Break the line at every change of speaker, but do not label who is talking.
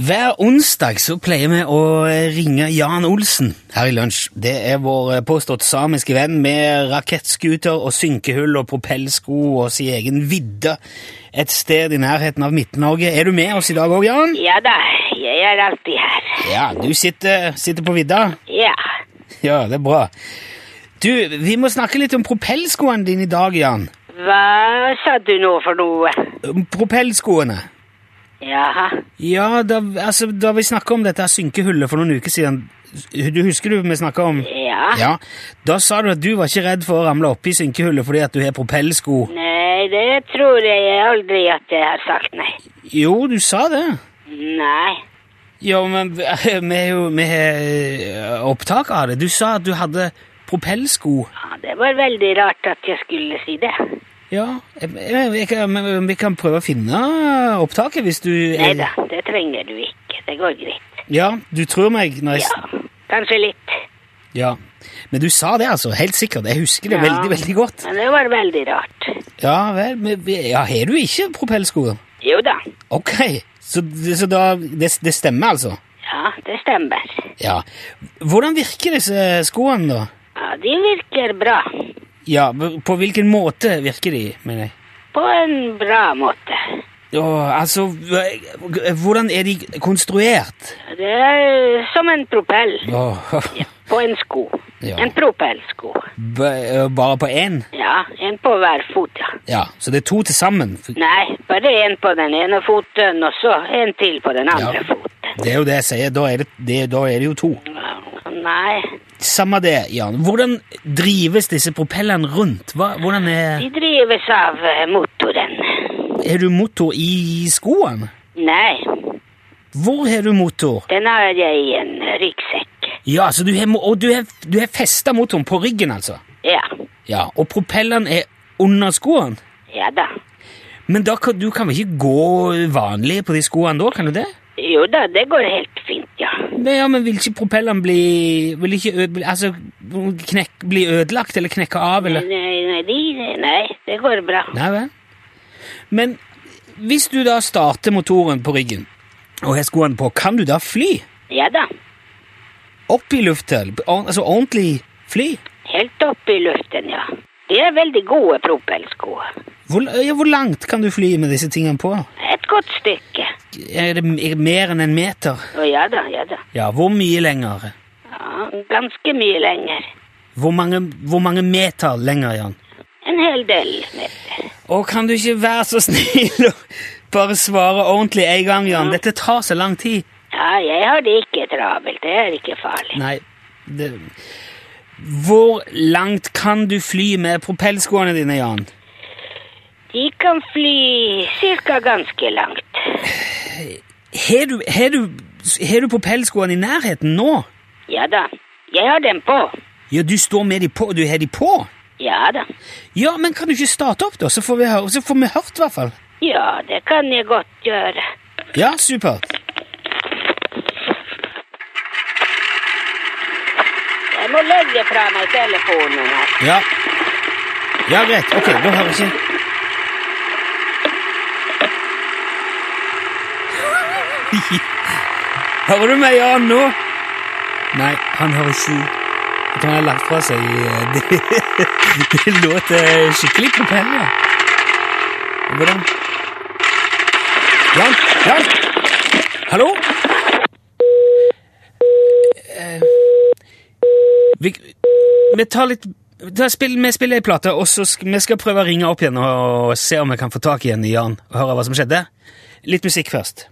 Hver onsdag så pleier vi å ringe Jan Olsen her i lunsj. Det er vår eh, påstått samiske venn med rakettskuter og synkehull og propellsko og sin egen vidde et sted i nærheten av Midt-Norge. Er du med oss i dag òg, Jan?
Ja da, jeg er alltid her.
Ja, du sitter, sitter på vidda.
Ja.
Ja, det er bra. Du, vi må snakke litt om propellskoene dine i dag, Jan.
Hva sa du nå for noe?
Om Propellskoene.
Jaha.
Ja, da, altså, da vi snakket om dette synkehullet for noen uker siden, du husker du vi snakket om?
Ja.
Ja, da sa du at du var ikke redd for å ramle opp i synkehullet fordi at du har propellsko.
Nei, det tror jeg aldri at jeg har sagt nei.
Jo, du sa det.
Nei.
Jo, men vi har jo vi har opptak av det. Du sa at du hadde propellsko.
Ja, det var veldig rart at jeg skulle si det.
Ja, eh, eh, vi kan, men vi kan prøve å finne opptaket hvis du...
Nei da, det trenger du ikke. Det går greit.
Ja, du tror meg når jeg...
Ja, kanskje litt.
Ja. Men du sa det altså, helt sikkert. Jeg husker det
Ja.
veldig, veldig godt.
Men det var veldig rart.
Ja, vel, men vi- ja, har du ikke propellsko?
Jo da.
Ok, så, det- så da, det, det stemmer altså?
Ja, det stemmer.
Ja. Hvordan virker disse skoene da?
Ja, de virker bra.
Ja, b- på hvilken måte virker de, mener jeg?
På en bra måte.
Ja, altså, hv- hvordan er de konstruert?
Det er som en propell.
Ja,
På en sko.
Ja.
En propellsko.
b- bare på én?
Ja, en på hver fot, ja.
Ja, så det er to til sammen.
Nei, bare en på den ene foten, og så en til på den andre
Ja.
foten.
Det er jo det jeg sier, da er det, det, da er det jo to.
Nei,
Samme det, Jan. Hvordan drives disse propellene rundt? Hva, hvordan er
de drives av eh, motoren.
Har du motor i skoene?
Nei,
Hvor har du motor?
den har jeg i en ryggsekk.
Ja, så du har, mo- og du har, du har festa motoren på ryggen, altså?
Ja,
Ja, Og propellene er under skoene?
ja da.
Men da kan, du kan vel ikke gå vanlig på de skoene da, kan du det?
Jo da, det går helt fint, ja.
Men, ja, men vil ikke propellene bli Vil ikke ø- bli- altså, knekk, bli ødelagt eller knekke av, eller?
Nei, nei, de, nei, det går bra.
Nei vel. Men hvis du da starter motoren på ryggen og har skoene på, kan du da fly?
Ja da,
Opp i lufta? eller- or- Altså ordentlig fly?
helt opp i luften, ja. De er veldig gode propellsko.
Hvor, ja, hvor langt kan du fly med disse tingene på?
Et godt stykke.
Er det er det mer enn en meter?
Å ja da, ja da.
Ja, hvor mye lenger?
Ja, ganske mye lenger.
Hvor mange, hvor mange meter lenger, Jan?
En hel del meter.
Å, kan du ikke være så snill og bare svare ordentlig en gang, Jan? Dette tar så lang tid.
Ja, jeg har det ikke travelt. Det er ikke farlig.
Nei, det... Hvor langt kan du fly med propellskoene dine, Jan?
De kan fly cirka ganske langt.
Har du, har du, har du propellskoene i nærheten nå?
Ja da. Jeg har dem på.
Ja, du står med de på, du har de på.
Ja da.
Ja, men kan du ikke starte opp, da? Så får vi, høre, så får vi hørt, i hvert fall.
Ja, det kan jeg godt gjøre.
Ja, supert.
Jeg må legge fra meg telefonen her.
Ja. Ja, greit. Ok, da hører jeg ikke Hører du meg, Jan, nå? Nei, han hører ikke Jeg tror han har lagt fra seg eh, Det, det låter skikkelig propell, ja. Hvordan Jan? Jan? Hallo? Eh, vi, vi tar litt da spill, Vi spiller ei plate, og så skal, vi skal prøve å ringe opp igjen og se om vi kan få tak igjen i Jan og høre hva som skjedde. Litt musikk først.